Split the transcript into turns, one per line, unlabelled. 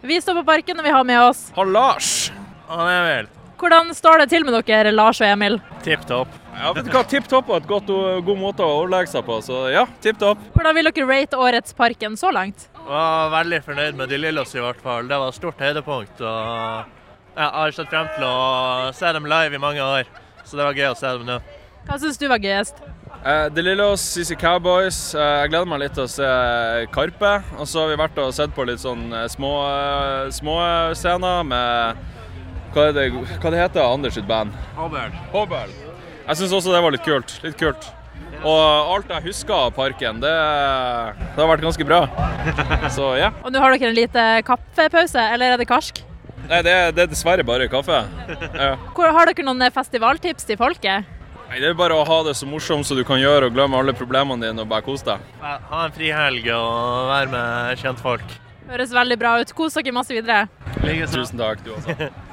Vi står på Parken, og vi har med oss
Og Lars. Han er vel
Hvordan står det til med dere, Lars og Emil?
tipp topp. Ja, vet du hva, tipp topp er et godt, og- god måte å ordlegge seg på, så ja, tipp topp.
Hvordan vil dere rate årets Parken så langt?
Var veldig fornøyd med de lille oss i hvert fall. Det var et stort høydepunkt. Og jeg har sett frem til å se dem live i mange år, så det var gøy å se dem nå.
Hva syns du var gøyest?
Eh, De Lillos, CC Cowboys. eh, Jeg gleder meg litt til å se Karpe. Og så har vi vært og sett på litt sånn eh, små, eh, små eh, scener med Hva, er det, hva det heter Anders sitt band? Hobel. Jeg syns også det var litt kult. Litt kult. Og alt jeg husker av parken, det, det har vært ganske bra. Så ja.
Og nå har dere en lite kaffepause, eller er det karsk?
Nei, det, det er dessverre bare kaffe. Ja.
Hvor, har dere noen festivaltips til folket?
Nei, det er bare å ha det så morsomt som du kan gjøre, og glemme alle problemene dine og bare kose deg.
Ha en frihelg og være med kjentfolk.
Høres veldig bra ut. Kos dere masse videre.
Likeså.
Tusen takk, du også.